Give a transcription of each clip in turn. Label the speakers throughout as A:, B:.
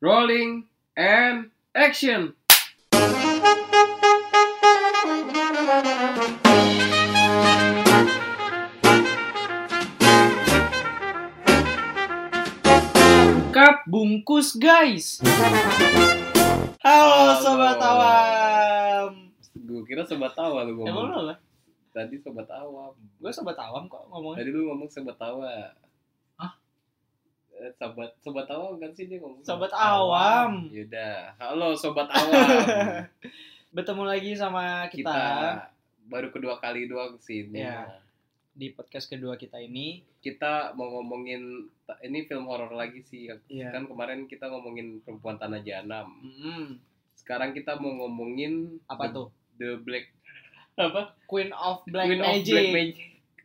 A: Rolling and action. Cut bungkus guys.
B: Halo sobat awam.
A: Gue kira sobat tawa lu
B: Emang
A: ngomong.
B: lu apa?
A: Tadi sobat awam.
B: Gue sobat awam kok ngomongnya.
A: Tadi lu ngomong sobat tawa.
B: Hah?
A: Eh, Sobat sobat awam kan sih dia ngomong.
B: Sobat awam.
A: Yaudah. Halo sobat awam.
B: Bertemu lagi sama
A: kita
B: kita,
A: baru kedua kali doang sih ini.
B: Iya. di podcast kedua kita ini.
A: Kita mau ngomongin ini film horor lagi sih.
B: Iya. Ya.
A: Kan kemarin kita ngomongin perempuan tanah jahanam.
B: Mm-mm.
A: Sekarang kita mau ngomongin
B: Apa
A: the,
B: tuh?
A: The Black apa?
B: Queen of Black
A: Queen
B: Magic.
A: of Black Magic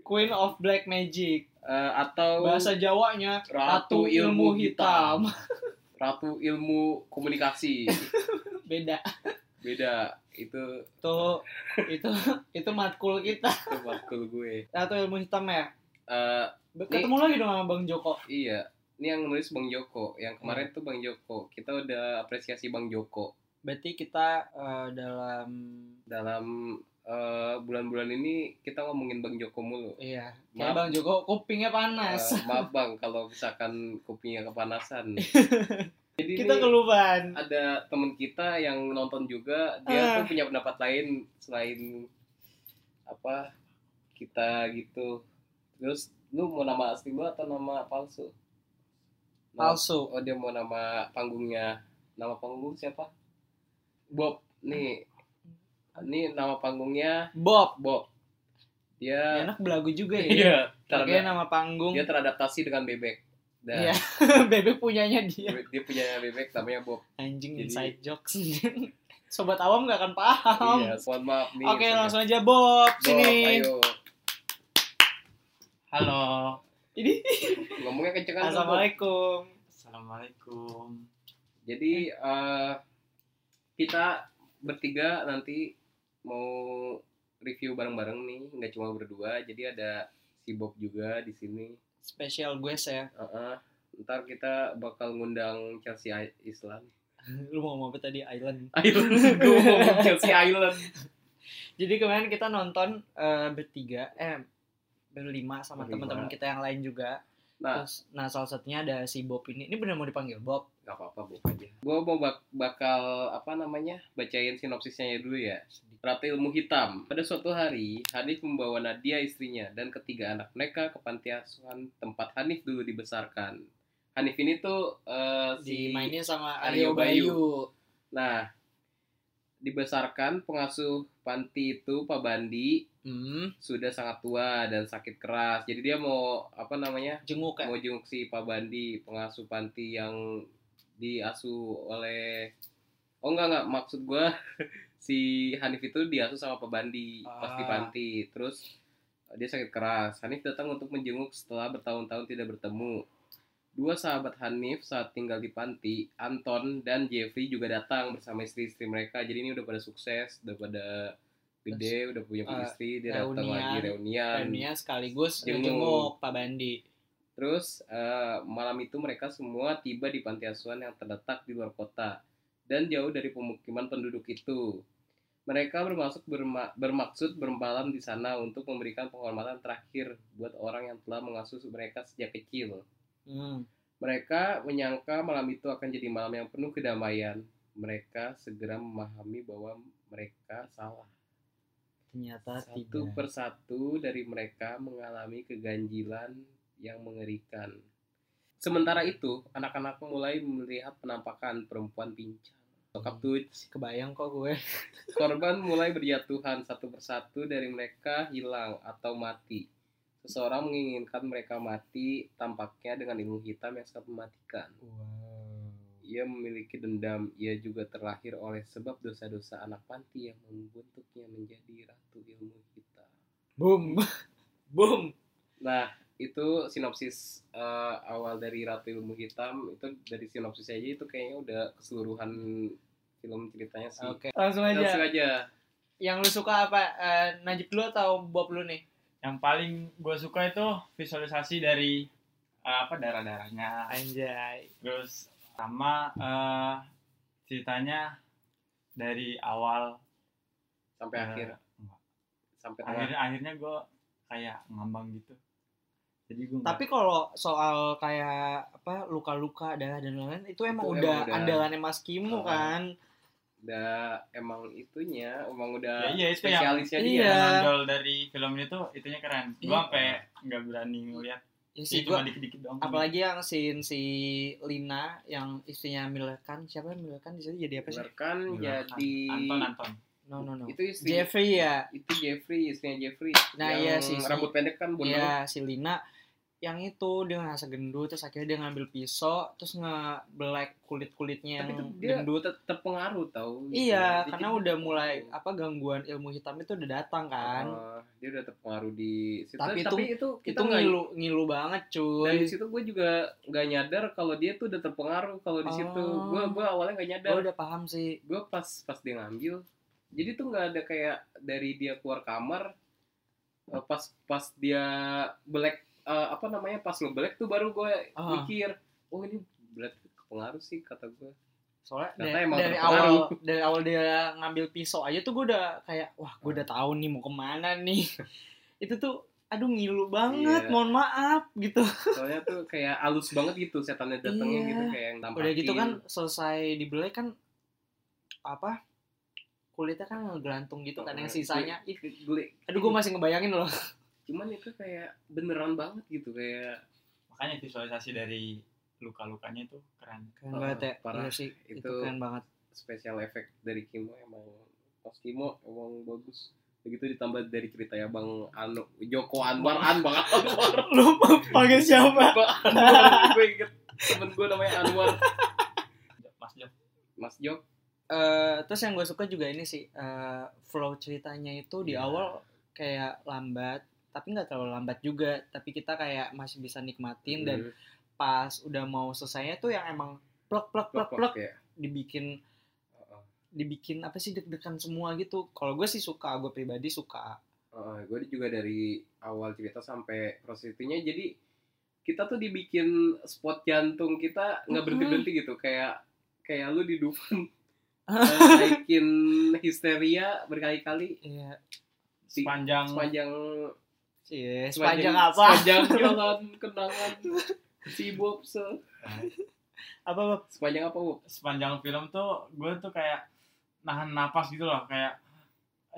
B: Queen of Black Magic.
A: Eh, atau
B: Bahasa Jawanya
A: Ratu Ilmu Hitam. Ratu Ilmu Komunikasi.
B: Beda.
A: Beda itu
B: Tuh itu itu matkul kita.
A: itu matkul gue.
B: Ratu Ilmu Hitam ya.
A: Eh,
B: Be- Ketemu lagi dong sama Bang Joko.
A: iya. Ini yang nulis Bang Joko. Yang
B: Hmm.
A: kemarin tuh Bang Joko. Kita udah apresiasi Bang Joko.
B: Berarti kita eh, dalam
A: dalam eh, bulan-bulan ini kita ngomongin Bang Joko mulu.
B: iya, kayak
A: Maaf,
B: Bang Joko kupingnya panas.
A: eh, maaf Bang kalau misalkan kupingnya kepanasan. Jadi
B: kita
A: ini
B: keluban.
A: ada teman kita yang nonton juga,
B: Eh.
A: dia tuh punya pendapat lain selain apa kita gitu. Terus lu mau nama asli lu atau nama palsu? Nama-
B: palsu
A: Oh dia mau nama panggungnya. Nama panggung siapa? Bob. Nih. Ini nama panggungnya
B: Bob
A: Bob. Dia
B: enak belagu juga ya
A: Iya,
B: Pakai
A: terada-
B: nama panggung
A: dia teradaptasi dengan bebek. Dan
B: Iya. bebek punyanya dia
A: dia punya bebek namanya Bob.
B: anjing
A: Jadi-
B: inside jokes sobat awam nggak akan paham
A: Iya, mohon maaf nih.
B: oke
A: Sobat.
B: langsung aja Bob
A: Bob,
B: sini
A: ayo.
C: Halo,
B: ini
A: Ngomongnya kenceng kan. Bob.
B: assalamualaikum
C: assalamualaikum.
A: Jadi eh, kita bertiga nanti mau review bareng-bareng nih, nggak cuma berdua. Jadi ada si Bob juga di sini.
B: special gue ya
A: Heeh. Ntar kita bakal ngundang Chelsea I- Island.
B: lu mau ngomong apa tadi Island
A: Island, gue mau ngomong Chelsea Island.
B: jadi kemarin kita nonton eh, bertiga eh berlima sama
A: Berlima.
B: teman-teman kita yang lain juga
A: Nah,
B: Terus, nah salah satunya ada si Bob ini ini benar mau dipanggil Bob
A: Gak apa-apa, Bob aja. Gue mau bak- bakal, apa namanya, bacain sinopsisnya dulu ya. Ratu Ilmu Hitam. Pada suatu hari, Hanif membawa Nadia istrinya dan ketiga anak mereka ke panti asuhan tempat Hanif dulu dibesarkan. Hanif ini tuh eh, si...
B: dimainin sama
A: Aryo
B: Aryo
A: Bayu.
B: Bayu.
A: Nah, dibesarkan pengasuh panti itu, Pak Bandi,
B: Hmm,
A: sudah sangat tua dan sakit keras. Jadi dia mau, apa namanya,
B: jenguk ya.
A: mau jenguk si Pak Bandi pengasuh panti yang diasuh oleh oh enggak enggak maksud gua si Hanif itu diasuh sama Pak Bandi pas di
B: Ah.
A: panti terus eh, dia sakit keras Hanif datang untuk menjenguk setelah bertahun-tahun tidak bertemu dua sahabat Hanif saat tinggal di panti Anton dan Jeffrey juga datang bersama istri-istri mereka jadi ini udah pada sukses udah pada gede udah punya
B: Eh,
A: istri dia datang
B: reunian.
A: lagi reunian
B: Premia sekaligus
A: Jenguk.
B: ngejenguk Pak Bandi.
A: Terus eh, malam itu mereka semua tiba di panti asuhan yang terletak di luar kota dan jauh dari pemukiman penduduk itu. Mereka bermaksud berma- bermaksud bermalam di sana untuk memberikan penghormatan terakhir buat orang yang telah mengasuh mereka sejak kecil.
B: Hmm.
A: Mereka menyangka malam itu akan jadi malam yang penuh kedamaian. Mereka segera memahami bahwa mereka salah.
B: Ternyata
A: Satu
B: tidak.
A: persatu dari mereka mengalami keganjilan yang mengerikan. Sementara itu, anak-anak mulai melihat penampakan perempuan pincang. Sokap tuj.
B: Kebayang kok gue.
A: Korban mulai berjatuhan satu persatu dari mereka hilang atau mati. Seseorang menginginkan mereka mati tampaknya dengan ilmu hitam yang sangat mematikan. Ia memiliki dendam, ia juga terlahir oleh sebab dosa-dosa anak panti yang membentuknya menjadi ratu ilmu hitam.
B: Boom. Boom.
A: Nah, itu sinopsis eh, awal dari Ratu Ilmu Hitam itu dari sinopsis aja itu kayaknya udah keseluruhan film ceritanya sih.
B: Oke. Langsung aja.
A: Langsung aja.
B: Yang lu suka apa? Eh, Najib dulu atau Bob dulu nih?
C: Yang paling gue suka itu visualisasi dari eh, apa darah darahnya,
B: Anjay.
C: terus sama eh, ceritanya dari awal
A: sampai
C: eh,
A: akhir
C: enggak.
A: sampai tengah
C: akhir akhirnya gue kayak ngambang gitu jadi gue
B: Tapi kalau soal kayak apa luka-luka darah dan lain-lain itu emang
A: Itu emang
B: udah
A: udah-
B: andalannya Mas
A: Oh.
B: Kimo kan.
A: udah emang itunya emang
C: ya,
A: udah
C: iya itu yang
A: spesialisnya
B: yang-
A: dia
B: Iya.
C: menonjol dari film itu itunya keren gue
B: Iya.
C: sampai nggak berani ngeliat
B: Ya sih
C: sih cuma
B: gua
C: dikit-dikit doang
B: apalagi yang scene si Lina yang istrinya Milkan siapa yang Milkan di situ jadi apa sih?
A: Bener kan
C: Gila,
A: jadi
C: Iya. Anton Anton
B: No no no.
A: itu istri
B: Jeffrey ya.
A: itu Jeffrey istrinya Jeffrey
B: Nah, iya
A: yang
B: sih, si-
A: rambut pendek kan bener
B: Iya si Lina yang itu dia ngerasa gendut terus akhirnya dia ngambil pisau terus ngebelek kulit-kulitnya
A: tapi
B: yang
A: itu dia
B: gendut
A: ter- terpengaruh tau
B: Iya,
A: Jadi gitu.
B: karena
A: dia
B: udah mulai
A: terpengaruh.
B: apa gangguan ilmu hitam itu udah datang kan.
A: Eh, dia udah terpengaruh di situ
B: Tapi itu-
A: kita
B: itu
A: nggak-
B: ngilu ngilu banget
A: dari
B: cuy.
A: situ gue juga nggak nyadar kalau dia tuh udah terpengaruh kalau di situ
B: Oh.
A: gue gue awalnya nggak nyadar
B: Gue udah paham sih.
A: gue pas pas dia ngambil jadi tuh nggak ada kayak dari dia keluar kamar eh, pas pas dia belek eh, apa namanya pas ngebelek tuh baru gue
B: Ah.
A: mikir oh ini berarti pengaruh sih kata gue
B: Soalnya
A: Ternyata
B: dari,
A: emang
B: dari
A: terpengaruh.
B: awal dari awal dia ngambil pisau aja tuh gue udah kayak wah gue
A: Hmm.
B: udah tahu nih mau kemana nih. itu tuh aduh ngilu
A: Iya.
B: banget, mohon maaf gitu.
A: soalnya tuh kayak halus banget gitu setannya datangnya
B: Iya.
A: gitu kayak yang tampakin
B: Udah gitu kan selesai dibelai kan apa kulitnya kan ngegelantung gitu kan yang
A: Heeh.
B: sisanya. Ih,
A: Gue- gue-
B: Aduh gue masih ngebayangin loh.
A: cuman itu kayak beneran banget gitu kayak
C: makanya visualisasi dari luka-lukanya itu keren
B: Keren banget ya.
A: Parah.
B: Iya sih, itu,
A: Itu-
B: keren banget.
A: special effect dari Kimo emang pas Kimo emang bagus begitu ditambah dari cerita ya Bang Anu Joko Anwar An Bang Anwar
B: Lu panggil
A: Bang
B: siapa?
A: Anwar gue inget temen gue namanya Anwar
C: Mas Jok
A: Mas Jok
B: eh terus yang gue suka juga ini sih eh, flow ceritanya itu di
A: Iya.
B: awal kayak lambat tapi nggak terlalu lambat juga tapi kita kayak masih bisa nikmatin dan
A: Hmm,
B: pas udah mau selesainya tuh yang emang plek plek plek plek
A: plek-plek ya
B: dibikin
A: Heeh.
B: dibikin apa sih deg-degan semua gitu kalau gue sih suka gue pribadi suka
A: Heeh, gue Eh, juga dari awal cerita sampai proses itunya jadi kita tuh dibikin spot jantung kita nggak berhenti berhenti gitu kayak kayak lu di Dufan eh, naikin histeria berkali-kali
B: iya
A: Si-
C: sepanjang
A: sepanjang
B: sih
A: Iya, Sepanjang-
B: sepanjang apa
A: sepanjang jalan kenangan si Bob se
B: apa Bob?
A: sepanjang apa Bob?
C: sepanjang film tuh gue tuh kayak nahan napas gitu loh kayak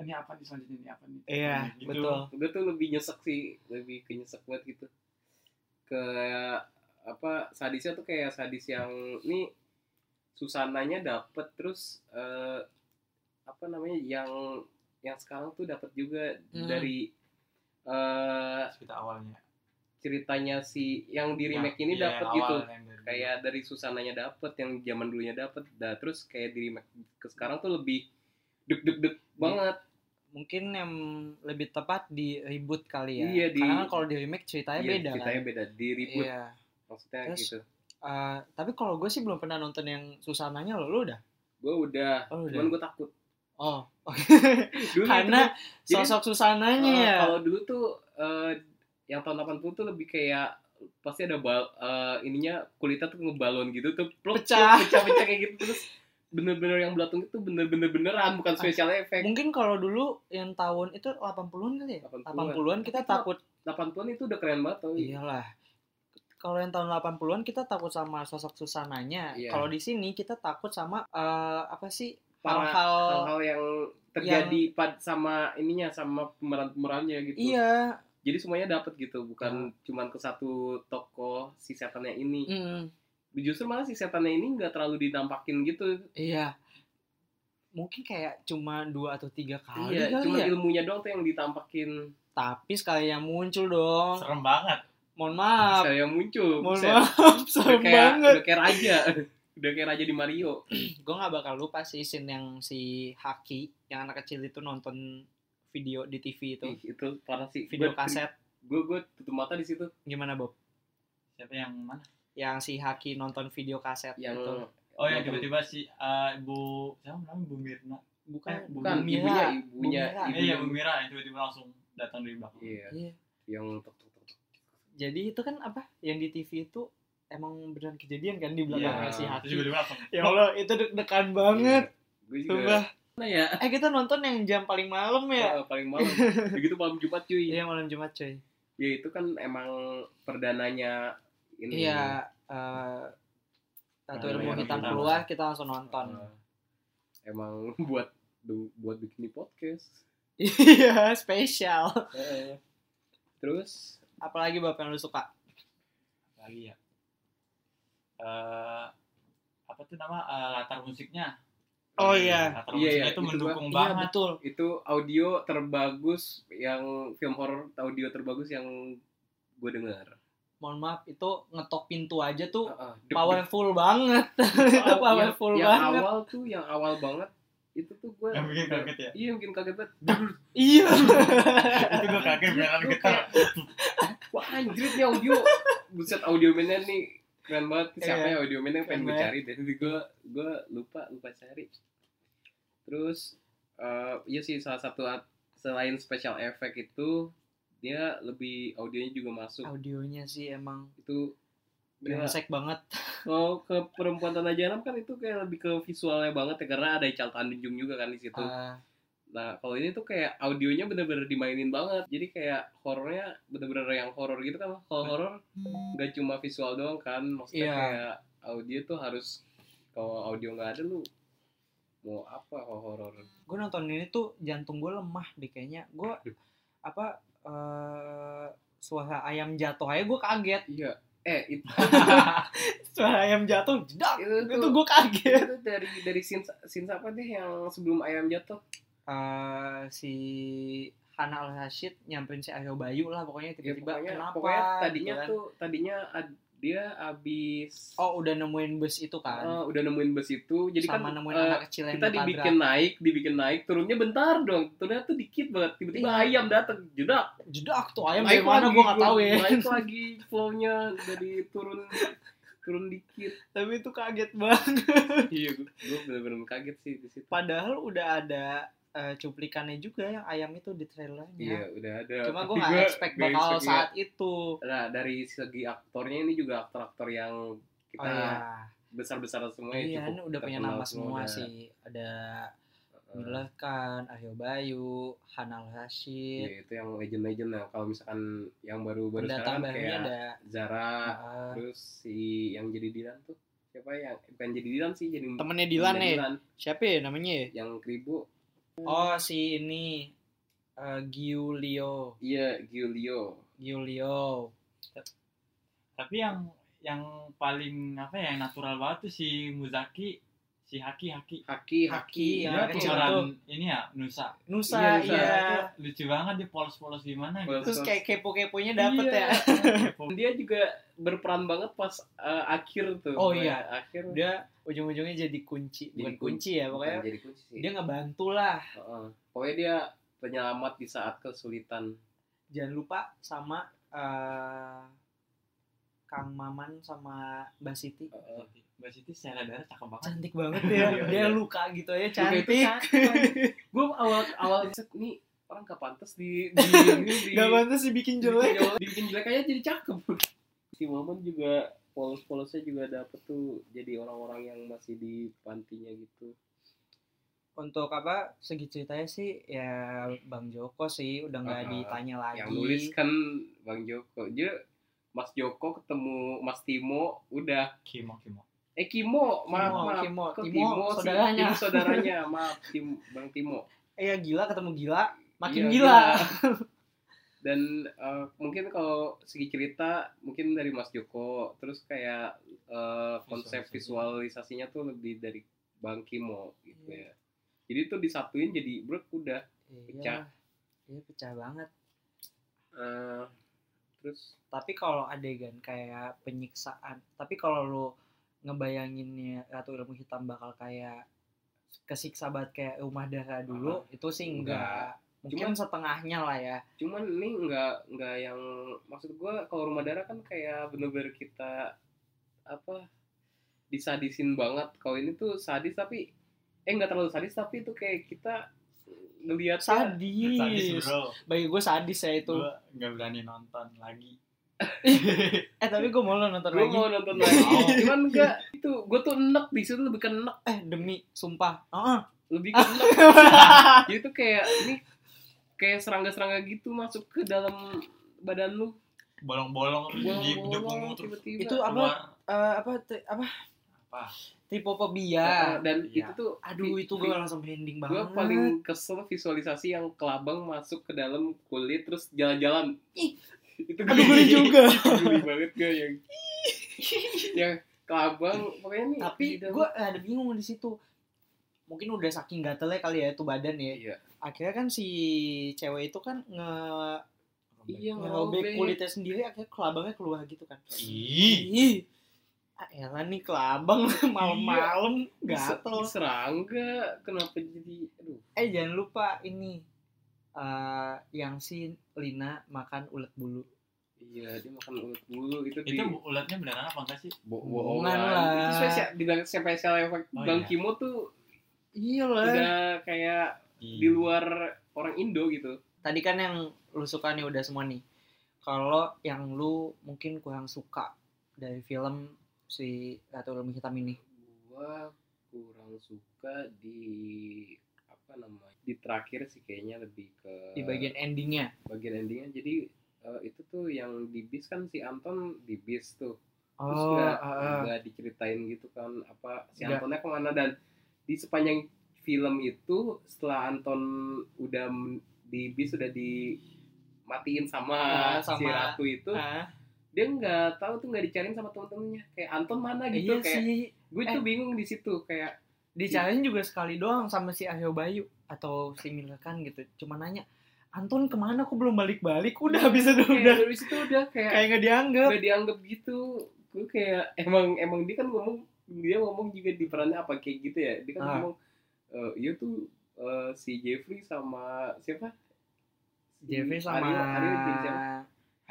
C: ini apa nih selanjutnya ini apa nih
A: Hmm,
B: iya
C: Gitu.
B: betul
A: gue tuh lebih nyesek sih lebih ke nyesek banget gitu ke apa sadisnya tuh kayak sadis yang ini susananya dapet terus eh, apa namanya yang yang sekarang tuh dapet juga
B: Hmm.
A: dari eh,
C: cerita awalnya
A: ceritanya si yang di remake ini
C: Iya,
A: dapet
C: awal
A: gitu
C: yang dari-
A: kayak dari susananya dapet yang zaman dulunya dapet dah terus kayak di remake ke sekarang tuh lebih deg deg
B: Iya.
A: deg banget
B: mungkin yang lebih tepat di reboot kali ya
A: Iya, di-
B: karena kan kalau di remake ceritanya
A: Iya,
B: beda
A: ceritanya
B: kan
A: beda di ribut
B: iya
A: maksudnya
B: Terus-
A: gitu
B: Eh, tapi kalau gue sih belum pernah nonton yang susananya lo, lo udah?
A: gue udah
B: Oh, udah.
A: cuman gue takut
B: Oh,
A: dulu itu
B: karena
A: tuh- jadi,
B: sosok
A: eh,
B: susananya ya.
A: kalau dulu tuh eh, yang tahun 80 tuh lebih kayak pasti ada bal eh, ininya kulitnya tuh ngebalon gitu tuh plok, plok,
B: Pecah.
A: pecah pecah kayak gitu terus bener-bener yang belatung itu bener-bener beneran bukan
B: Ah.
A: special effect
B: Mungkin kalau dulu yang tahun itu 80-an kali ya?
A: 80-an.
B: 80-an kita
A: Itu
B: takut.
A: 80 itu udah keren banget tau
B: Iyalah. Kalau yang tahun 80-an kita takut sama sosok susananya.
A: Iya.
B: Kalau di sini kita takut sama eh, apa sih?
A: Para-
B: Hal-hal
A: hal-hal yang terjadi pad sama ininya sama pemeran-pemerannya gitu
B: Iya.
A: jadi semuanya dapet gitu bukan cuman ke satu tokoh si setannya ini
B: Mm,
A: justru malah si setannya ini nggak terlalu dinampakin gitu
B: iya. Mungkin kayak cuma dua atau tiga kali
A: iya
B: kali
A: cuma
B: ya.
A: ilmunya doang tuh yang ditampakin
B: Tapi sekali yang muncul dong.
C: serem banget
B: Mohon maaf.
A: saya muncul
B: Ah, Mohon
A: Buset.
B: maaf,
A: udah
B: serem
A: kayak
B: banget. Iya.
A: udah kayak raja udah kayak raja di Mario
B: Gue gak bakal lupa sih scene yang si Haki, yang anak kecil itu nonton video di TV itu.
A: Ih, itu parah sih
B: Video kaset.
A: gue gue tutup mata di situ
B: Gimana, Bob?
C: siapa yang mana
B: Yang si Haki nonton video kaset
A: yang
B: itu.
C: oh yang
A: Nonton.
C: tiba-tiba si eh, ibu siapa namanya Bu Mirna
B: Bukan,
C: eh,
A: bukan
B: Bu Mira.
A: ibunya ibunya
B: Bu Mira.
A: ibunya.
C: iya Bu Mirna yang tiba-tiba langsung datang dari belakang
A: Iya,
B: Iya.
A: yang tok tok tok tok.
B: Jadi itu kan apa? Yang di TV itu emang beneran kejadian kan di
A: Iya.
B: belakangnya si
C: itu
B: hati
C: juga di belakang.
B: ya allah itu deg-degan banget
A: gue
B: sumpah
A: Iya, juga mana ya
B: eh kita nonton yang jam paling malam ya
A: Eh, paling malam begitu malam jumat cuy
B: iya malam jumat cuy
A: ya itu kan emang perdananya ini
B: iya eh satu
A: Nah,
B: ilmu
A: iya,
B: hitam Oh.
A: iya.
B: keluar kita langsung nonton
A: Eh, emang buat buat bikin di podcast
B: iya spesial
A: Eh,
B: Iya.
A: terus
B: apalagi bapak yang lu suka
C: Lagi ya. Eh, apa tuh nama eh, latar musiknya?
B: Oh, iya.
C: Latar
A: Iya,
C: musiknya
A: iya,
C: itu
A: itu
C: mendukung
B: Iya,
C: banget.
B: betul
A: itu audio terbagus yang film horor audio terbagus yang gue dengar
B: mohon maaf itu ngetok pintu aja tuh
A: Heeh, deg-
B: powerful banget
A: deg-
B: itu
A: yang,
B: powerful
A: yang
B: banget
A: awal tuh yang awal banget itu tuh gue
C: Yang bikin kaget ya.
A: iya mungkin kaget banget
B: iya
C: itu gue kaget beneran
A: Lu
C: getar.
A: wah anjir nih audio buset audio mainnya nih keren banget siapa
B: Iya.
A: ya audio mainnya yang pengen gue
B: Keren
A: cari deh jadi gue gue lupa lupa cari terus eh iya sih salah satu at- selain special effect itu dia lebih audionya juga masuk
B: audionya sih emang
A: itu dia-
B: brengsek banget
A: Kalau ke perempuan tanah jahanam kan itu kayak lebih ke visualnya banget ya karena ada Ical Tanjung juga kan di situ.
B: Eh,
A: Nah, kalau ini tuh kayak audionya bener-bener dimainin banget. Jadi kayak horornya bener-bener yang horor gitu kan. Kalau horor nggak cuma visual doang kan. Maksudnya
B: Ah. Iya.
A: kayak audio tuh harus kalau audio nggak ada lu mau apa kalau horor?
B: gue nonton ini tuh jantung gue lemah deh kayaknya gue apa eh suara ayam jatuh aja gue kaget
A: Iya. Eh itu,
B: suara ayam jatuh jedak
A: itu,
B: itu
A: tuh
B: gue kaget
A: itu dari dari scene, scene apa deh yang sebelum ayam jatuh?
B: Eh si Hana Al Hashid nyamperin si Aryo Bayu lah pokoknya
A: Ya,
B: tiba-tiba
A: pokoknya,
B: kenapa
A: pokoknya
B: gitu
A: tadinya
B: kan.
A: tuh tadinya ad- dia abis
B: oh udah nemuin bus itu kan
A: Eh, udah nemuin bus itu jadi
B: sama
A: kan
B: nemuin
A: eh,
B: anak kecil yang
A: kita
B: ditabrak.
A: dibikin naik dibikin naik turunnya bentar dong turunnya tuh dikit banget tiba-tiba
B: Iya.
A: ayam datang jedak
B: jedak tuh ayam dari mana gue nggak tahu ya
A: naik lagi flownya dari turun turun dikit
B: tapi itu kaget banget
A: iya gue bener-bener kaget sih di situ
B: padahal udah ada eh, cuplikannya juga yang ayam itu di trailernya
A: iya udah ada
B: cuma gue
A: Tapi
B: nggak expect
A: nggak
B: bakal
A: expect,
B: saat itu
A: iya. nah dari segi aktornya ini juga aktor-aktor yang kita
B: oh iya
A: besar-besar semua ya,
B: iya
A: cukup
B: ini udah punya
A: terkenal
B: nama semua
A: udah.
B: sih ada
A: Heeh.
B: Miller Khan, Aryo Bayu, Hanal
A: Iya,
B: Rashid,
A: itu yang legend-legend nah kalau misalkan yang baru-baru
B: pendatang
A: sekarang
B: barunya
A: kayak
B: ada
A: Zara
B: ah,
A: Terus si yang jadi Dilan tuh siapa yang bukan jadi Dilan sih jadi
B: temennya
A: jadi
B: Dilan nih siapa ya namanya ya?
A: yang kribo
B: oh si ini eh, Giulio
A: iya Giulio
B: Giulio
C: Tapi yang yang paling apa ya yang natural banget tuh si Muzaki, si Haki Haki.
A: Haki
B: Haki,
A: Haki
B: Yang
C: Dia
B: anak kecil
C: orang
B: tuh.
C: ini ya Nusa.
A: Iya,
B: Nusa iya,
A: Nusa.
C: Lucu banget dia polos-polos gimana gitu.
A: Polos.
B: terus kayak kepo-keponya dapet
C: Iya.
B: ya
A: dia juga berperan banget pas eh, akhir tuh
B: Oh, iya.
A: akhir
B: dia ujung-ujungnya jadi kunci bukan
A: Jadi
B: kunci ya
A: bukan
B: pokoknya
A: jadi kunci sih
B: dia ngebantu lah
A: Heeh. pokoknya dia penyelamat di saat kesulitan
B: jangan lupa sama eh, Kang Maman sama Mbak Siti
A: Heeh.
C: Mbak Siti secara darah cakep banget.
B: cantik banget ya
A: Oh. Iya,
B: dia
A: iya.
B: luka gitu ya
A: Luka itu
B: cantik
A: gue awal awal set nih orang gak pantas di di ini di
B: gak pantas dibikin jelek
A: dibikin Iya, jelek aja jadi cakep si Maman juga polos-polosnya juga dapet tuh jadi orang-orang yang masih di pantinya gitu
B: untuk apa segi ceritanya sih ya Bang Joko sih udah nggak
A: Uh-uh.
B: ditanya lagi
A: yang nulis kan Bang Joko dia Mas Joko ketemu Mas Timo udah
C: Kimo Kimo.
A: eh Kimo maaf
B: Kimo,
A: maaf
B: Kimo,
A: Kok
B: Timo,
A: sih?
B: saudaranya.
A: Timo saudaranya maaf Tim Bang Timo
B: eh ya gila ketemu gila makin
A: Iya,
B: gila.
A: dan eh, mungkin kalau segi cerita mungkin dari Mas Joko terus kayak eh, konsep
C: Visualisasi.
A: visualisasinya tuh lebih dari Bang Kimo gitu ya jadi tuh disatuin jadi brek udah
B: iya
A: Pecah.
B: iya pecah banget Ah.
A: Eh, terus
B: tapi kalau adegan kayak penyiksaan tapi kalau lu ngebayanginnya Ratu Ilmu Hitam bakal kayak kesiksa banget kayak rumah darah dulu itu sih enggak, mungkin setengahnya lah ya
A: cuman ini nggak nggak yang maksud gua kalau rumah darah kan kayak bener-bener kita apa disadisin banget kalau ini tuh sadis tapi eh nggak terlalu sadis tapi itu kayak kita ngelihat
B: sadis
C: Sadis bro.
B: bagi gue sadis ya Iya. itu
C: Gue nggak berani nonton lagi.
B: eh tapi gue mau lo nonton
A: gue
B: lagi
A: mau
B: Oh.
A: nonton lagi
C: Mau.
A: cuman enggak itu gue tuh enek di situ lebih ke enek
B: eh demi sumpah Heeh.
A: lebih ke enek jadi tuh kayak ini kayak serangga-serangga gitu masuk ke dalam badan lu
C: bolong-bolong di di punggung
A: bolong-bolong
C: terus
A: tiba-tiba
B: itu apa
C: keluar
B: eh, apa ti- apa
C: apa
A: Nah,
B: tipopobia
A: dan
C: Iya.
A: itu tuh
B: aduh itu gue langsung merinding banget
A: gue paling kesel visualisasi yang kelabang masuk ke dalam kulit terus jalan-jalan Ih, itu
B: aduh gue juga
A: geli banget gue yang yang kelabang pokoknya nih
B: tapi
C: Iya
A: di dalam-
B: gue ada bingung di situ mungkin udah saking gatelnya kali ya itu badan ya
A: iya
B: akhirnya kan si cewek itu kan nge
A: iya
B: ngerobek
A: ngerobek.
B: kulitnya sendiri akhirnya kelabangnya keluar gitu kan
C: ih
B: ih ah elah nih kelabang malam-malam
C: Iya.
B: gatel
A: serangga kenapa jadi aduh
B: eh jangan lupa ini eh yang si Lina makan ulet bulu
A: iya dia makan ulat bulu itu, di
C: itu ulatnya beneran apa enggak sih
A: bo-
B: hubungan
A: bohongan
B: lah.
A: itu spesial di belakang special effect
C: Oh,
A: bang
C: iya.
A: Kimo tuh
B: iya
A: udah kayak di
C: Iya.
A: luar orang Indo gitu
B: tadi kan yang lu suka nih udah semua nih kalau yang lu mungkin kurang suka dari film si Ratu Ilmu Hitam ini
A: gua kurang suka di apa namanya di terakhir sih kayaknya lebih ke
B: di bagian endingnya
A: bagian endingnya jadi eh, itu tuh yang di bis kan si Anton di bis tuh terus
B: oh
A: nggak
B: ah, ah.
A: nggak diceritain gitu kan apa si
B: Nggak.
A: Antonnya kemana dan di sepanjang film itu setelah Anton udah men- di bis sudah dimatiin sama,
B: Ah,
A: si
B: sama-
A: ratu itu
B: Ah,
A: dia nggak tahu tuh nggak dicariin sama temen-temennya kayak Anton mana gitu
B: iya
A: kayak
B: sih Eh.
A: gue tuh bingung di situ kayak Iya.
B: dicariin juga sekali doang sama si Ahyo Bayu atau si Milakan gitu cuma nanya Anton kemana kok belum balik-balik udah bisa udah
A: kayak dari situ udah kayak
B: kayak nggak dianggap
A: nggak dianggap gitu gue kayak emang emang dia kan ngomong dia ngomong juga di perannya apa kayak gitu ya dia kan
B: Ah.
A: ngomong "Eh, iya tuh eh, si Jeffrey sama siapa Si
B: Jeffrey sama
A: Ariel- Ariel jadi siapa?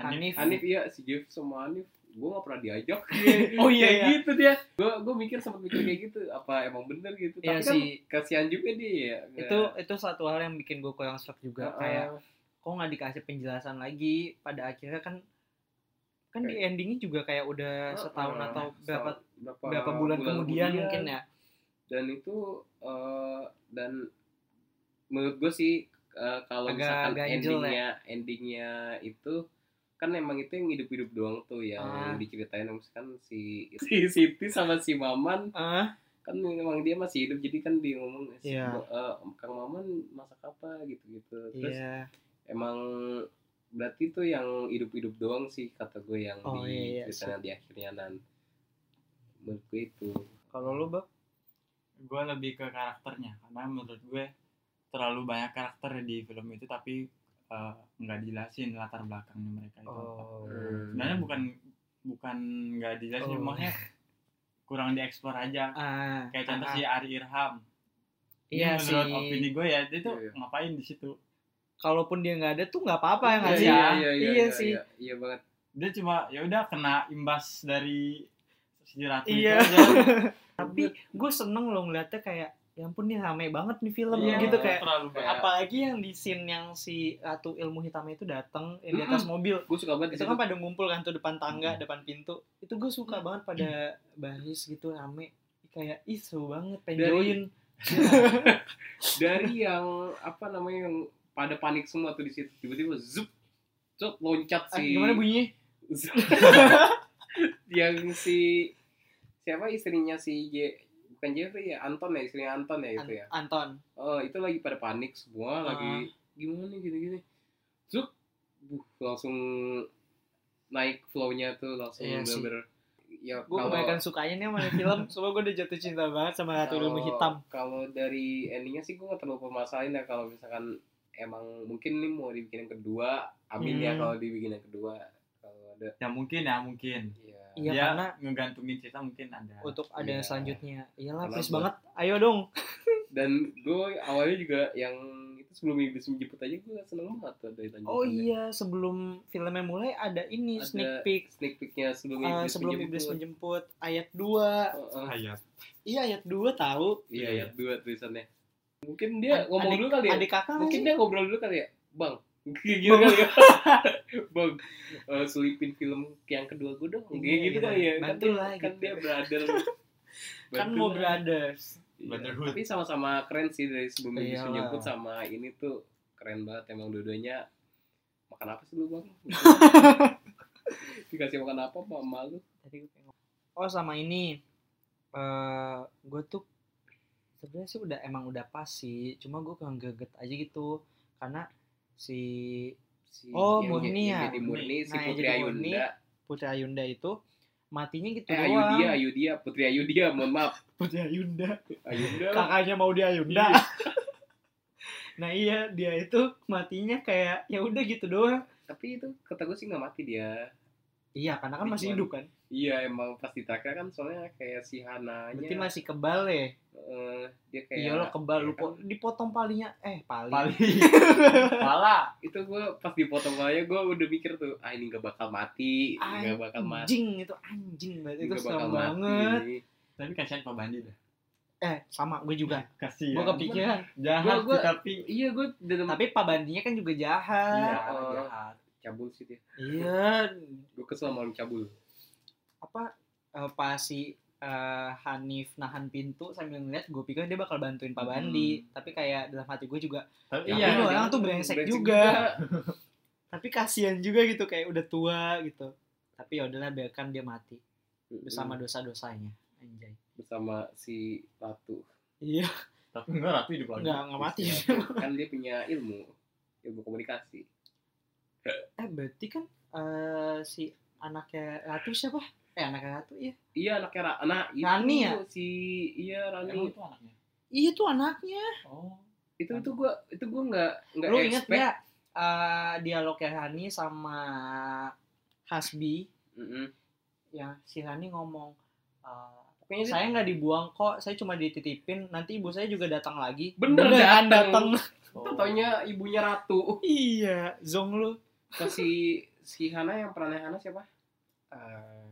B: Hanif
A: Hanif iya si Jeff sama Hanif gue gak pernah diajak
B: oh iya
A: kayak
B: iya
A: gitu dia gue gue mikir sempat mikir kayak gitu apa emang bener gitu tapi
B: Iya
A: kan
B: sih.
A: kasihan juga dia ya nggak-
B: itu itu satu hal yang bikin gue kurang shock juga
A: Heeh.
B: kayak kok nggak dikasih penjelasan lagi pada akhirnya kan kan di endingnya juga kayak udah
A: Heeh.
B: setahun atau berapa
A: eh, berapa,
B: berapa bulan, kemudian, mungkin ya
A: dan itu eh, dan menurut gue sih eh, kalau
B: Agak-
A: misalkan
B: agak angel ya.
A: endingnya endingnya itu kan emang itu yang hidup-hidup doang tuh ya, yang
B: Ah.
A: diceritain misalkan si si Siti sama si Maman
B: ah
A: kan memang dia masih hidup jadi kan dia ngomong si-
B: Iya.
A: eh, Kang Maman masak apa gitu-gitu terus
B: iya
A: emang berarti tuh yang hidup-hidup doang sih kata gue yang
B: Oh,
A: di
B: iya, iya.
A: ceritanya di akhirnya dan menurut gue itu
B: kalau lu bang
C: gue lebih ke karakternya karena menurut gue terlalu banyak karakter di film itu tapi eh, nggak dijelasin latar belakangnya mereka itu
B: Oh.
C: apa.
B: Hmm.
C: sebenarnya bukan bukan nggak dijelasin
B: Oh.
C: maksudnya kurang dieksplor aja
B: ah
C: kayak contoh
B: ah,
C: si Ari Irham
B: iya
C: Ini
B: sih
C: menurut opini gue ya dia tuh
A: Iya, iya.
C: ngapain di situ
B: kalaupun dia nggak ada tuh nggak apa-apa ya nggak
A: Iya,
B: sih
A: iya,
B: Ah,
A: iya, iya,
B: iya
A: iya,
B: sih
A: iya, iya banget
C: dia cuma ya udah kena imbas dari si ratu itu
B: Iya.
C: aja.
B: tapi gue seneng loh ngeliatnya kayak ya ampun nih rame banget nih film
A: Iya.
B: gitu kayak
C: terlalu
A: Kayak-
C: banyak
B: apalagi yang di scene yang si ratu ilmu hitam itu datang eh, di atas mobil
A: gue suka banget
B: itu
A: di
B: kan
A: situ. Mm.
B: pada ngumpul kan tuh depan tangga depan pintu itu gue suka banget pada baris gitu rame kayak ih seru banget pengen
A: Dari-
B: join
A: dari yang apa namanya yang pada panik semua tuh di situ tiba-tiba zup zup loncat
B: Ah,
A: si
B: gimana bunyinya
A: Zup. yang si siapa istrinya si Je bukan Jeffrey ya Anton ya istrinya Anton ya itu ya
B: An- Ah. Anton
A: oh itu lagi pada panik semua lagi gimana nih gini-gini zup buh, langsung naik flow-nya tuh langsung
B: Iya sih.
A: bener-bener ya
B: gue kebanyakan sukanya nih sama film soalnya gue udah jatuh cinta banget sama ratu ilmu
A: Kalau-
B: hitam
A: Kalau dari endingnya sih gue gak terlalu permasalahin ya kalau misalkan emang mungkin nih mau dibikin yang kedua, amin ya
B: Hmm.
A: kalau dibikin yang kedua kalau ada
C: ya mungkin ya mungkin
A: ya.
B: iya
C: dia
B: karena
C: ngegantungin cerita mungkin ada
B: untuk ada yang
A: Iya.
B: selanjutnya iyalah
A: Karena
B: please
A: buat-
B: banget ayo dong
A: Dan gue awalnya juga yang itu sebelum iblis menjemput aja gue seneng banget tuh dari lanjutannya.
B: oh iya sebelum filmnya mulai ada ini
A: Ada
B: sneak peek
A: Sneak peeknya sebelum
B: eh,
A: iblis
B: sebelum
A: menjemput.
B: iblis menjemput ayat 2
A: Oh, oh.
C: Ayat.
B: iya ayat 2 tahu
A: Iya
C: Iya.
A: ya dua tulisannya. Mungkin dia
B: Ad-
A: ngomong
B: adik-
A: dulu kali ya.
B: adik kakak
A: Mungkin
B: mungkin
A: dia ngobrol dulu kali ya, bang. Kayak gitu kali ya. Bang, eh, selipin film yang kedua gue dong. Kayak
B: Iya,
A: gitu
B: iya.
A: kali ya. Kan
B: Bantu
A: dia-
B: lah
A: Kan
B: gitu.
A: dia brother.
B: kan
A: Bantu
B: mau
A: lah.
B: brothers
A: Iya,
C: Brotherhood.
A: Tapi sama-sama keren sih dari sebelum Indonesia
B: Iyalah.
A: jemput sama ini tuh keren banget emang dua-duanya makan apa sih lu bang? Dikasih makan apa Pak malu?
B: tadi gue pengen ngomong. oh sama ini eh gue tuh sebenarnya sih udah emang udah pas sih cuma gue kurang greget aja gitu karena si
A: Si
B: Oh,
A: yang-
B: Murni
A: yang
B: ya.
A: Jadi Murni si
B: Nah, yang
A: Putri
B: jadi Murni,
A: Ayunda.
B: Putri Ayunda itu matinya gitu
A: Eh
B: doang
A: Ayudia, Ayudia, Putri Ayudia, mohon maaf.
B: Putri Ayunda
A: Ayudia. lah.
B: kakaknya mau di Ayunda Iya. nah iya dia itu matinya kayak ya udah gitu doang
A: Tapi itu kata gue sih nggak mati dia.
B: iya karena kan masih
A: Cuman-
B: hidup kan
A: Iya emang pas ditraktir kan soalnya kayak si Hananya.
B: berarti masih kebal ya
A: eh, dia kayak.
B: iya lo kebal lu
A: iya kan?
B: po- dipotong palinya eh pali,
C: paling
B: pala
A: Itu gue pas dipotong aja gue udah mikir tuh, ah ini nggak bakal mati, nggak bakal mati.
B: anjing itu anjing banget itu
A: nggak
B: serem banget
A: mati.
C: tapi kasihan Pak Bandi dah
B: eh sama gue juga
C: kasihan
B: gue kepikiran
C: jahat
A: Gua- gua-
C: sih, tapi
A: Iya gue dan
B: tapi Pak Bandinya kan juga
C: iya
B: jahat
A: oh.
C: jahat
A: cabul sih dia.
B: iya
A: Gue kesel sama orang cabul.
B: apa eh, pas si eh, Hanif nahan pintu sambil ngeliat gue pikir dia bakal bantuin Pak Bandi tapi kayak dalam hati gue juga
C: tapi
B: Iya,
C: iya
B: lu
A: dia
B: orang tuh brengsek juga. tapi kasihan juga gitu kayak udah tua gitu tapi ya udahlah biarkan dia mati
A: Mm,
B: bersama dosa-dosanya anjay
A: Hmm, bersama si Ratu.
B: iya
C: tapi enggak rapi di
B: nggak nggak mati
A: kan dia punya ilmu, ilmu komunikasi.
B: eh berarti kan eh, si anaknya ratu siapa eh anaknya ratu iya
A: Iya anaknya Ra anak itu
B: Rani ya?
A: si iya
C: emang
A: Rani
C: itu anaknya
B: iya tuh anaknya
C: oh
A: itu itu gua itu gua nggak nggak
B: lu inget
A: expect.
B: nggak eh, dialognya Hani sama Hasbi
A: Mm-mm.
B: yang si Hani ngomong eh,
A: Pokoknya dia-
B: saya nggak dibuang kok saya cuma dititipin nanti ibu saya juga datang lagi
A: Bener,
B: Beneran
A: datang.
C: oh.
A: Taunya ibunya Ratu.
B: iya zong lu
A: Ke si si Hana yang perannya Hana siapa?
B: Eh,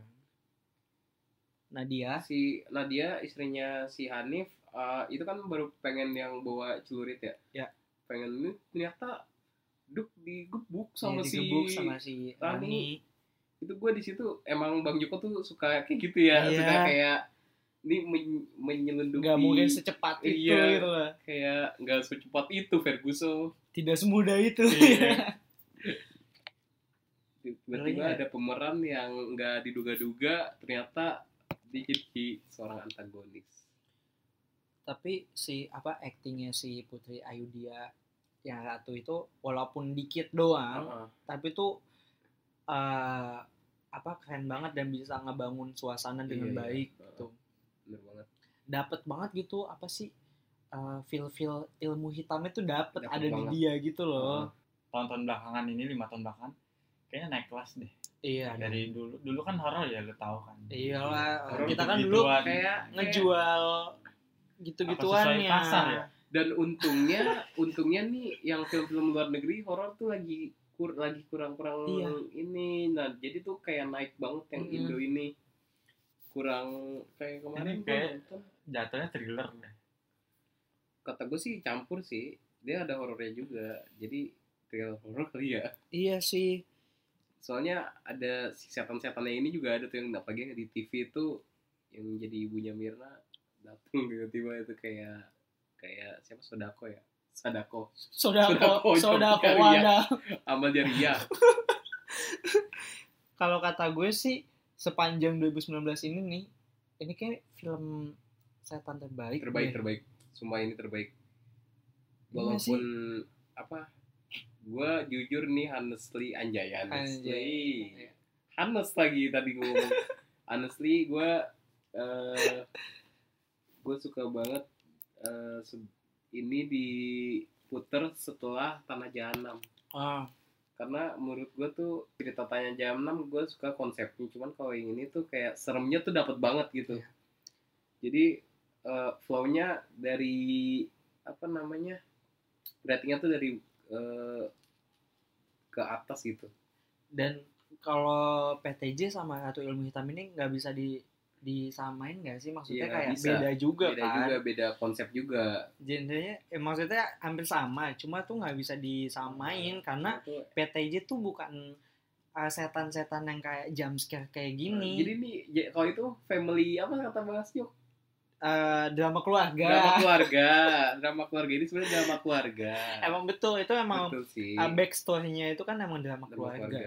B: Nadia
A: Ah, Si Nadia istrinya si Hanif eh, itu kan baru pengen yang bawa celurit ya.
B: Ya.
A: Pengen ini ternyata duk digebuk sama
B: Dia
A: si
B: Iya, digebuk sama si
A: Rani.
B: Rani
A: itu gue di situ emang Bang Joko tuh suka kayak gitu ya,
B: Iya.
A: suka kayak ini men- menyelundupi
B: nggak mungkin secepat itu
A: Iya.
B: gitu lah.
A: kayak nggak secepat itu Ferguson
B: tidak semudah itu
C: Iya.
A: tiba-tiba
B: Iya.
A: ada pemeran yang nggak diduga-duga ternyata dia jadi seorang antagonis
B: tapi si apa aktingnya si Putri Ayudia yang ratu itu walaupun dikit doang
A: Heeh.
B: tapi tuh eh, apa keren banget dan bisa ngebangun suasana dengan
A: Iya, iya.
B: baik
A: Heeh.
B: gitu
A: bener banget
B: dapat banget gitu apa sih eh, feel-feel ilmu hitamnya tuh dapat
A: Dapet
B: ada di
A: banget.
B: dia gitu loh
C: tahun-tahun belakangan ini lima tahun belakangan kayaknya naik kelas deh
B: iya
C: dari dulu dulu kan horor ya lo tahu kan
B: Iyalah,
A: Iya. orang gitu
B: kita kan dulu
C: Gitu-gituan.
A: kayak-
B: ngejual
C: Apa
B: gitu-gituan
C: sesuai
B: ya
C: pasar ya?
A: dan untungnya untungnya nih yang film-film luar negeri horor tuh lagi kur lagi kurang-kurang
B: Iya.
A: ini nah jadi tuh kayak naik banget yang
B: Mm.
A: Indo ini kurang kayak kemarin
C: Ini kayak-
A: gua nonton,
C: jatuhnya thriller deh
A: kata gue sih campur sih dia ada horornya juga jadi thriller horor kali ya
B: iya sih
A: soalnya ada si setan-setannya ini juga ada tuh yang apalagi yang di TV itu yang jadi ibunya Mirna datang tiba-tiba itu kayak kayak siapa Sodako ya Sadako
B: sodako
A: Sodako,
B: sodako
A: Jogja, iya.
B: wadah
A: Amal Jariah
B: kalau kata gue sih sepanjang 2019 ini nih ini kayak film setan terbaik
A: terbaik
B: deh.
A: terbaik sumpah ini terbaik
B: Iya
A: walaupun apa gue jujur nih honestly anjay honestly
B: Anjay.
A: honest lagi tadi gue ngomong honestly gue gue suka banget eh, se- ini diputer setelah tanah jahanam
B: ah
A: karena menurut gue tuh cerita tanya jam 6 gue suka konsepnya cuman kalau yang ini tuh kayak seremnya tuh dapat banget gitu
B: Iya.
A: jadi eh, flow-nya dari apa namanya ratingnya tuh dari eh, ke atas gitu
B: dan kalau PTJ sama Ratu Ilmu Hitam ini nggak bisa di disamain gak sih
A: Iya,
B: maksudnya kayak
A: bisa.
B: beda juga
A: beda
B: kan
A: juga beda konsep juga
B: genrenya eh, maksudnya hampir sama cuma tuh nggak bisa disamain karena
A: Itu-
B: PTJ tuh bukan uh, setan-setan yang kayak jump scare kayak gini
A: jadi nih ya, kalau itu family apa kata Mas Yuk
B: Eh, drama keluarga
A: drama keluarga drama keluarga ini sebenarnya drama keluarga
B: emang betul itu emang
A: betul sih
B: uh, backstory-nya itu kan emang drama,
A: Drama
B: keluarga.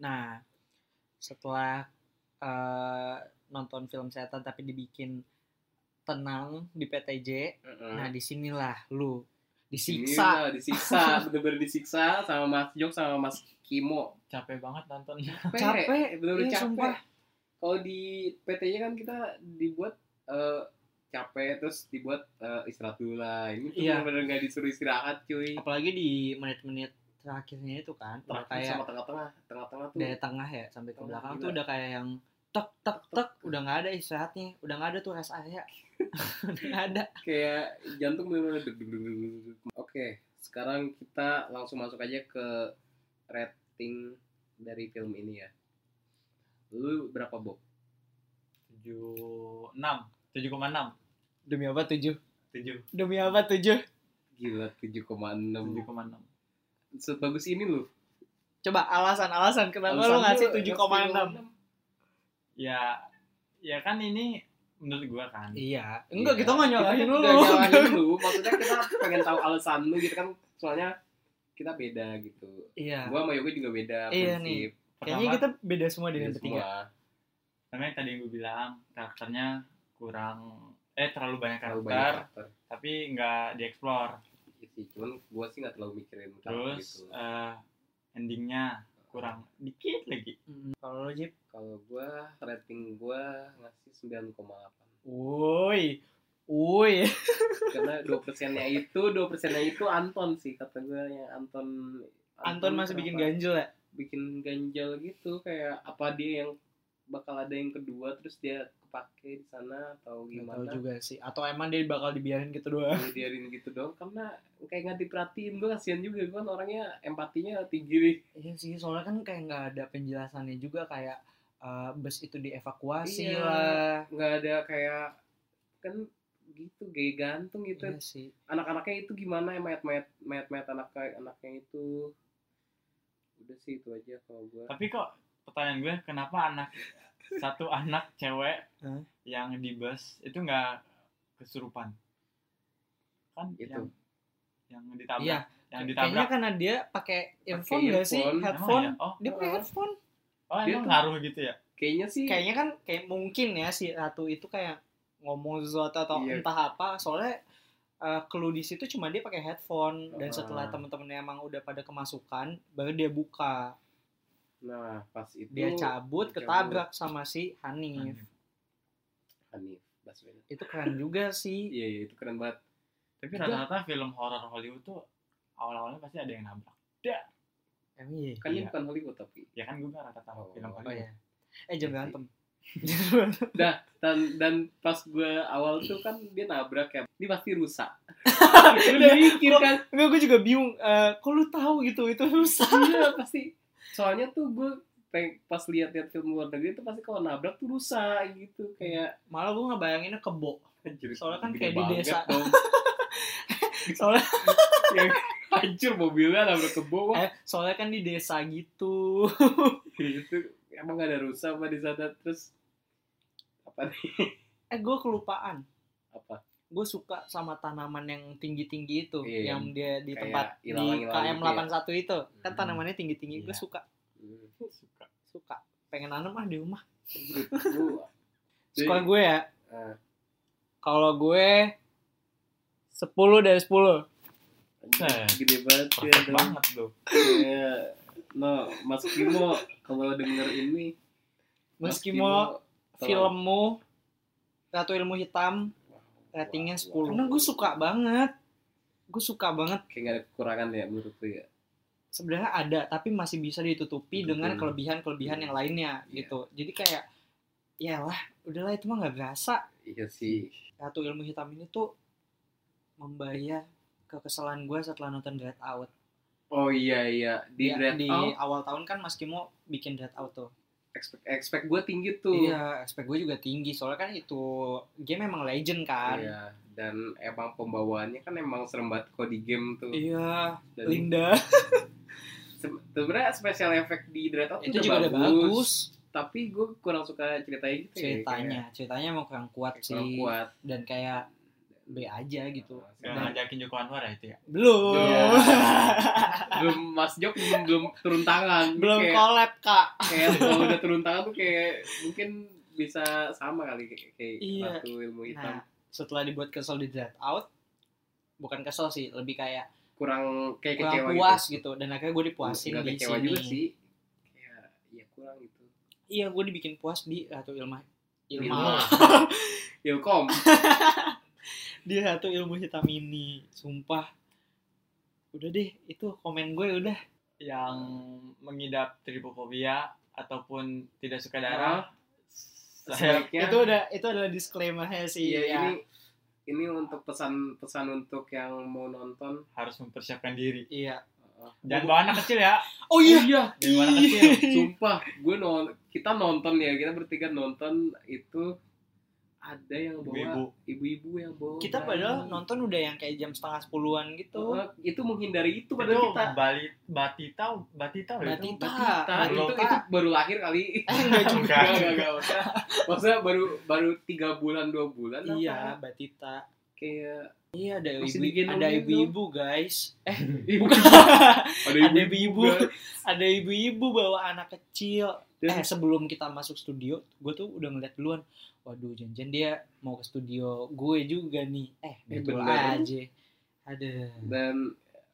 B: nah setelah eh, nonton film setan tapi dibikin tenang di PTJ
A: Heeh.
B: nah disinilah lu
A: Iya,
B: disiksa
A: disiksa bener-bener disiksa sama Mas Jok sama Mas Kimo
C: capek banget nonton
B: Capek,
A: bener-bener capek
B: iya, sumpah.
A: kalau di PT-nya kan kita dibuat eh, capek terus dibuat eh, istirahat dulu lah ini tuh
B: Iya.
A: bener-bener nggak disuruh istirahat cuy
B: apalagi di menit-menit terakhirnya itu kan udah
A: terakhir
B: kayak
A: sama tengah-tengah tengah-tengah tuh
B: dari tengah ya sampai ke
A: Tengah,
B: belakang
A: gila.
B: tuh udah kayak yang tek tek tek udah nggak ada istirahatnya udah nggak ada tuh rest area udah nggak ada
A: kayak jantung bener-bener deg deg deg deg deg deg. Oke, sekarang kita langsung masuk aja ke rating dari film ini ya. Lu berapa Bob?
C: tujuh enam tujuh koma enam
B: demi apa tujuh
C: tujuh
B: demi apa tujuh
A: Gila 7,6.
C: tujuh koma enam
A: Sebagus ini lu.
B: coba alasan alasan kenapa lu ngasih tujuh koma enam
C: ya ya kan ini menurut gua kan
B: iya
A: Enggak,
B: enggak
A: kita
B: kita nggak nyalahin lu
A: Lu nyalahin lu, maksudnya kita pengen tahu alasan lu gitu kan. Soalnya kita beda gitu.
B: iya
A: Gua sama Yogi juga beda
B: Iya nih, kayaknya kita beda semua
A: Beda
B: dengan bertiga
A: Iya, semua.
C: karena yang tadi yang gue bilang karakternya kurang eh terlalu banyak
A: Terlalu
C: karakter
A: banyak karakter.
C: tapi nggak dieksplor
A: Iya sih, cuman gua sih nggak terlalu mikirin karakter gitu.
C: terus
B: gitu.
C: eh, endingnya kurang dikit lagi
B: Mm, kalau lo jeep
A: Kalau gua rating gua ngasih 9,8.
B: woi woi
A: Karena 2 persennya itu, 2 persennya itu Anton sih kata gua yang Anton
B: Anton masih bikin
A: kenapa
B: ganjel ya
A: bikin ganjal gitu kayak apa dia yang bakal ada yang kedua terus dia kepake di sana atau
B: nggak tahu
A: gimana.
B: juga sih atau emang dia bakal dibiarin gitu doang
A: Dia Diarin gitu dong karena kayak nggak diperhatiin gua kasihan juga gua kan orangnya empatinya tinggi nih.
B: Iya sih, soalnya kan kayak nggak ada penjelasannya juga kayak eh, bus itu dievakuasi
A: Iya.
B: lah.
A: nggak ada kayak kan gitu gaya gantung gitu
B: Iya sih.
A: anak-anaknya itu gimana ya mayat-mayat mayat-mayat anaknya anaknya itu udah sih itu aja kalau gue
C: tapi kok pertanyaan gue kenapa anak satu anak cewek
B: Hah?
C: yang di bus itu nggak kesurupan kan
A: Itu.
C: yang yang ditabrak
B: Gitu. Iya,
C: yang
B: Kayaknya
C: ditabrak
B: karena dia pakai earphone iya? nggak sih?
A: earphone,
B: Headphone.
C: emang ya? oh
B: Dia pakai
A: Heeh.
B: headphone.
C: oh
A: Dia
C: emang
A: tuh-
C: ngaruh gitu ya
A: kayaknya sih
B: Kayaknya kan kayak mungkin ya si Ratu itu kayak ngomong sesuatu atau
A: Iya.
B: entah apa. Soalnya eh clue di situ cuma dia pakai headphone dan
A: Heeh.
B: setelah temen-temennya emang udah pada kemasukan baru dia buka.
A: nah pas itu
B: Dia cabut
A: dia
B: ketabrak sama si Hanif.
A: Hanif Baswedan
B: Itu keren juga sih.
A: iya iya itu keren banget
C: tapi
B: Juga.
C: rata-rata film horor Hollywood tuh awal-awalnya pasti ada yang nabrak
B: Emang iya.
A: kan ini
C: Iya.
A: bukan Hollywood tapi
C: ya kan gue nggak rata-rata
A: Oh,
C: film
A: oh
B: Oh
C: Hollywood
B: iya. Eh jangan
A: Iya
B: berantem.
A: dan dan pas gue awal tuh kan dia nabrak ya ini pasti rusak lu
B: Dan-
A: mikir kan
B: Enggak, gue juga bingung. Eh, kok lu tahu gitu? Itu rusak.
A: iya pasti soalnya tuh gue pas lihat-lihat film luar negeri tuh pasti kalau nabrak tuh rusak gitu kayak
B: Malah gue ngebayanginnya kebo. Soalnya kan kayak
A: Gede
B: di
A: banget
B: desa.
A: dong.
B: Soalnya,
A: hancur mobilnya nabrak ke bawah
B: eh, soalnya kan di desa gitu.
A: itu emang gak ada rusa apa di sana terus apa nih
B: Eh, gue kelupaan.
A: apa
B: Gue suka sama tanaman yang tinggi-tinggi itu.
A: Iya,
B: yang dia di
A: kayak
B: tempat di
A: ilalang-ilalang
B: KM
A: gitu
B: 81 itu. Kan
A: Hmm.
B: tanamannya tinggi-tinggi. Gue
C: Iya.
B: suka.
C: suka
B: Suka. Pengen nanam ah di rumah.
A: Lu- Jadi-
B: Suka gue ya.
A: Eh.
B: Kalau gue 10 dari 10.
C: Eh.
A: gede banget ya
B: iya.
C: perfect
A: dong
C: banget tuh
A: Iya. no Mas Kimo kalau denger ini Mas
B: Meski mau
A: tolong-
B: filmmu Ratu Ilmu Hitam ratingnya 10. Karena gue suka banget. Gue suka banget.
A: kayak gak ada kekurangan ya menurut lu ya
B: Sebenarnya ada, tapi masih bisa ditutupi
A: Ditutupin.
B: dengan kelebihan-kelebihan yang lainnya
A: Iya.
B: gitu. Jadi kayak, ya lah, udahlah itu mah nggak berasa.
A: iya sih
B: Ratu Ilmu Hitam ini tuh membayar kekesalan gue setelah nonton Dread Out.
A: oh iya iya di Oh.
B: Ya,
A: Dread
B: di
A: Out
B: awal tahun kan Mas Kimo bikin Dread Out tuh.
A: expect expect gue tinggi tuh
B: Iya, expect gue juga tinggi soalnya kan itu game memang legend kan.
A: Iya, dan emang pembawaannya kan emang serem banget kok di game tuh
B: Iya,
A: dan
B: Linda.
A: se- sebenarnya special effect di Dreadnought
B: Itu
A: tuh udah Iya,
B: juga udah bagus
A: tapi gue kurang suka ceritanya gitu ya,
B: ceritanya. Ceritanya emang kurang kuat
A: kayak- kayak kurang
B: sih
A: kuat
B: dan kayak B aja gitu.
C: Yang
A: Nah,
C: ngajakin Joko Anwar ya itu ya.
B: Belum.
A: Iya. belum Mas Jok belum belum turun tangan
B: Belum
A: kayak,
B: collab, Kak.
A: kayak kalau udah turun tangan tuh kayak mungkin bisa sama kali kayak, kayak
B: Iya.
A: ratu ilmu hitam
B: Nah, setelah dibuat kesel di Dread Out, bukan kesel sih, lebih kayak
A: kurang kayak
B: kurang
A: kecewa
B: puas
A: gitu,
B: gitu. Dan akhirnya gue dipuasin
A: Nggak
B: di
A: kecewa
B: sini.
A: juga sih kayak ya kurang gitu
B: Iya, gue dibikin puas di Ratu Ilma
A: Ilma.
B: Ilma
A: Ilkom
B: di Ratu Ilmu Hitam ini. Sumpah. Udah deh, itu komen gue udah.
C: Yang mengidap tripofobia ataupun tidak suka darah. Saya
A: sebaiknya
B: Oh. Itu udah itu adalah disclaimer-nya sih.
A: ya,
B: ya.
A: ini ini untuk pesan-pesan untuk yang mau nonton eh,
C: harus mempersiapkan diri.
B: Iya.
C: Jangan bawa anak kecil ya.
B: Oh iya.
C: Jangan bawa anak kecil.
A: ya? sumpah gue non kita nonton ya kita bertiga nonton itu ada yang bawa
C: Ibu-ibu.
A: ibu-ibu yang bawa
B: Kita
A: berani.
B: padahal nonton udah yang kayak jam setengah sepuluhan gitu.
A: Eh, itu menghindari itu
C: Itu
A: padahal kita Nah,
C: Bali, Batita, Batita loh iya. ya itu.
B: Batita.
A: Batita. itu
C: Batita.
A: itu baru lahir kali
B: Eh, enggak juga.
C: Enggak.
A: Enggak, enggak, enggak. Maksudnya- maksudnya baru baru tiga bulan dua bulan apa?
B: Iya, Batita.
A: kayak
B: Iya ada
A: Masih
B: ibu
A: digendong
B: ada
A: gitu.
B: ibu-ibu guys. Eh
A: ibu ada
B: ada ibu-ibu Eh.
A: juga.
B: ada ibu-ibu bawa anak kecil.
A: Dan-
B: Eh sebelum kita masuk studio, gue tuh udah ngeliat duluan. Waduh janjian dia mau ke studio gue juga nih. Eh
A: Eh,
B: betul
A: bener.
B: aja. Ada.
A: dan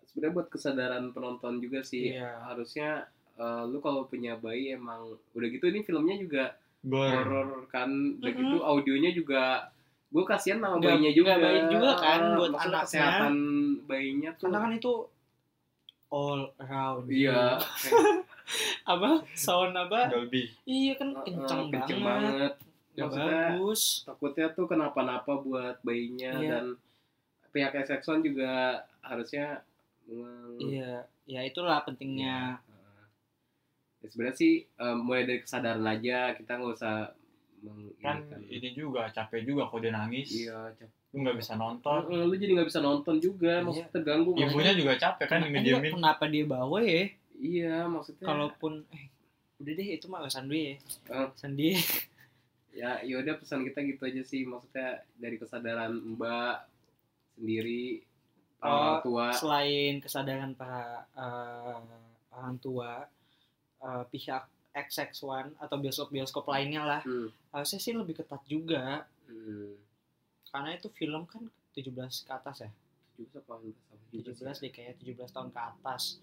A: sebenarnya buat kesadaran penonton juga sih
B: Iya.
A: harusnya eh, lu kalau punya bayi emang udah gitu ini filmnya juga
C: Gor.
A: horor kan udah
B: Mhm.
A: gitu audionya juga gue kasihan sama
B: Nggak-
A: bayinya juga
B: nggak baik juga kan
A: Ah,
B: buat
A: maksudnya
B: anaknya.
A: kesehatan bayinya tuh
B: Karena kan itu all round.
A: iya
B: Apa sound apa?
C: Dolby.
B: Iya kan
A: Eh,
B: kenceng,
A: kenceng
B: banget.
A: banget
B: Nggak
A: Maksudnya-
B: bagus.
A: takutnya tuh kenapa-napa buat bayinya
B: Iya.
A: dan pihak Sexon juga harusnya meng-
B: Iya. Ya itulah pentingnya.
A: Iya. Ya, sebenarnya sih eh, mulai dari kesadaran aja kita nggak usah meng- ini
C: Kan
A: kan.
C: ini juga capek juga kok dia nangis.
A: iya cap-
C: Lu nggak bisa
A: Eh,
C: nonton.
A: eh, lu jadi nggak bisa nonton juga
B: Iya.
A: maksudnya terganggu maksudnya.
C: Ibunya juga capek kan
B: Kenapa-
C: ngediemin.
B: eh, Kenapa dia bawa ya?
A: iya maksudnya
B: kalaupun eh, udah deh itu mah urusan gue ya
A: Eh.
B: urusan dia
A: ya yaudah pesan kita gitu aja sih maksudnya dari kesadaran mbak sendiri para
B: Oh,
A: orang tua
B: selain kesadaran para eh, orang tua eh, pihak XX1 atau bioskop-bioskop lainnya lah
A: Hmm,
B: harusnya sih lebih ketat juga
A: hmm.
B: karena itu film kan 17 ke atas ya
A: 17 apa 18?
B: 17 deh kayaknya 17 tahun ke atas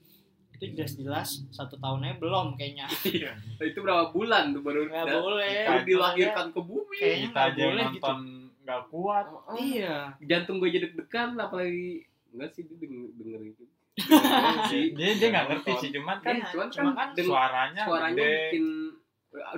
B: itu jelas-jelas satu tahunnya belum kayaknya
A: Iya. itu berapa bulan tuh baru
B: nggak
A: da-
B: boleh
A: baru
C: Makanya-
A: dilahirkan ke bumi.
B: Kayaknya
C: Kita
B: nggak
C: aja yang
B: boleh gitu.
C: nonton nggak kuat.
A: Oh,
B: iya
A: Jantung gue jadi deg-degan apalagi enggak sih dia denger, dengerin gitu.
C: Dia dia nggak ngerti sih cuman kan
A: Kan
B: Iya,
A: cuman
B: cuma
A: kan,
B: kan
A: deng-
C: suaranya,
A: suaranya
C: gede.
A: bikin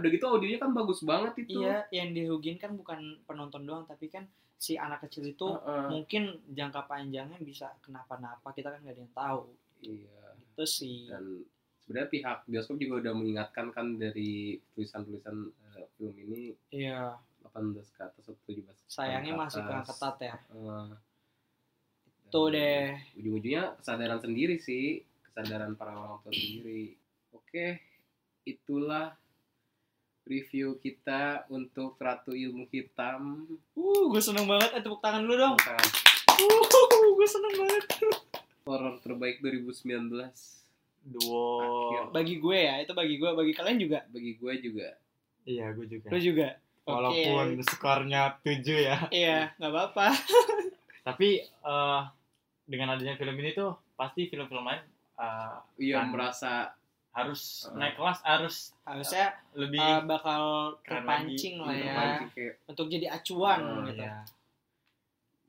A: udah gitu audionya kan bagus banget itu.
B: iya yang dirugin kan bukan penonton doang tapi kan si anak kecil itu
A: Heeh.
B: mungkin jangka panjangnya bisa kenapa-napa kita kan nggak ada yang tahu
A: Iya.
B: itu sih
C: Ya.
A: Dan sebenarnya pihak bioskop juga udah mengingatkan kan dari tulisan-tulisan eh, film ini
B: iya
A: 18 ke atas atau 17 ke
B: sayangnya
A: atas.
B: masih kurang ketat ya
A: Heeh.
B: tuh
A: Dan-
B: deh
A: ujung-ujungnya kesadaran sendiri sih kesadaran para orang tua sendiri oke itulah review kita untuk Ratu Ilmu Hitam
B: uh gue seneng banget eh tepuk tangan dulu dong
A: tentang
C: Ya.
B: uh gue seneng banget
A: horor terbaik 2019
C: Duo.
A: Akhir.
B: bagi gue ya itu bagi gue bagi kalian juga
A: bagi gue juga
C: Iya, gue juga.
B: lu juga
C: Walaupun skornya 7 ya.
B: Oke. iya nggak apa-apa
C: Tapi eh, dengan adanya film ini tuh pasti film-film lain eh,
A: iya
C: Kan.
A: merasa
C: harus
A: Heeh.
C: naik kelas, harus
B: harusnya
C: lebih
B: uh, bakal
C: Keren
B: terpancing lah
C: lagi. Iya,
B: ya
A: terpancing kayak
B: untuk jadi acuan
A: Hmm,
B: gitu
C: ya.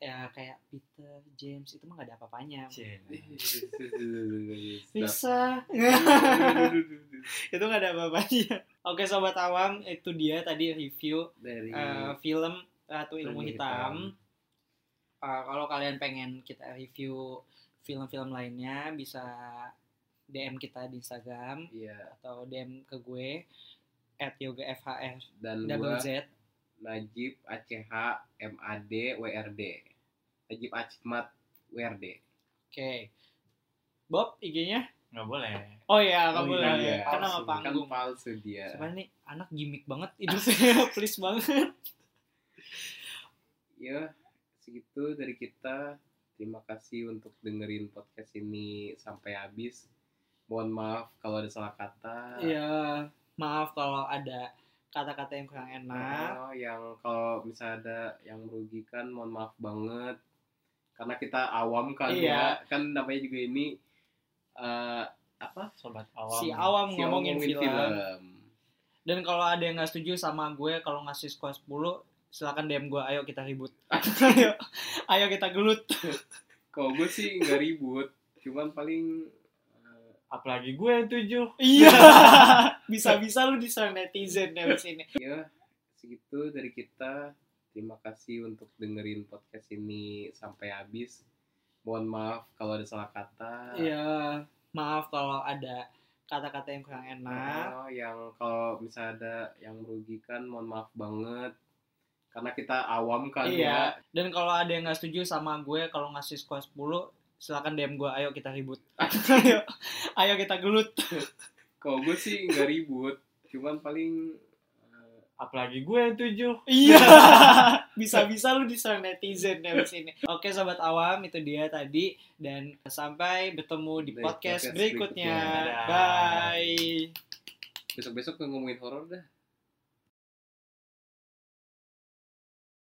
B: ya kayak Peter James itu mah nggak ada apa-apanya
C: Iya.
A: Stop.
B: bisa itu nggak ada apa-apanya. Oke sobat awam, itu dia tadi review
A: dari
B: eh, film Ratu Ilmu
A: Ilmu
B: Hitam. Eh, kalau kalian pengen kita review film-film lainnya bisa DM kita di Instagram
A: iya
B: atau DM ke gue at yoga FHR
A: dan gua
B: double Z
A: Najib ACH MAD WRD Najib Acmat WRD
B: oke Bob IG-nya
C: nggak boleh
B: oh ya nggak
C: Oh,
B: boleh
A: iya.
B: karena sama
C: Palsu.
A: kan
B: panggung
A: palsu dia
B: Cuman nih anak gimmick banget hidupnya please banget
A: ya segitu dari kita terima kasih untuk dengerin podcast ini sampai habis mohon maaf kalau ada salah kata
B: ya maaf kalau ada kata-kata yang kurang enak
A: Nah, yang kalau misalnya ada yang merugikan mohon maaf banget karena kita awam kan
B: Iya.
A: ya kan namanya juga ini eh, apa
C: sobat awam
B: si Nah, awam
A: si
B: ngomongin, film.
A: film.
B: dan kalau ada yang nggak setuju sama gue kalau ngasih skor 10 silakan DM gue ayo kita ribut ayo ayo kita gelut
A: Kalau gue sih nggak ribut, cuman paling eh,
C: apalagi gue tujuh
B: iya bisa-bisa lu diserang netizen ya abis ini
A: ya segitu dari kita. Terima kasih untuk dengerin podcast ini sampai habis. Mohon maaf kalau ada salah kata.
B: ya maaf kalau ada kata-kata yang kurang enak
A: Nah, yang kalau misalnya ada yang merugikan, mohon maaf banget. Karena kita awam kan
B: iya dan kalau ada yang nggak setuju sama gue kalau ngasih skor 10 silakan DM gue ayo kita ribut ayo ayo kita gelut
A: ya. Kalau gue sih nggak ribut, cuman paling eh,
C: apalagi gue tujuh
B: Iya. Bisa-bisa lu diserang netizen ya di sini. Oke sobat awam itu dia tadi dan sampai bertemu di
A: Di
B: podcast,
A: podcast
B: berikutnya.
A: berikutnya.
B: Bye.
A: besok-besok ngomongin horor dah.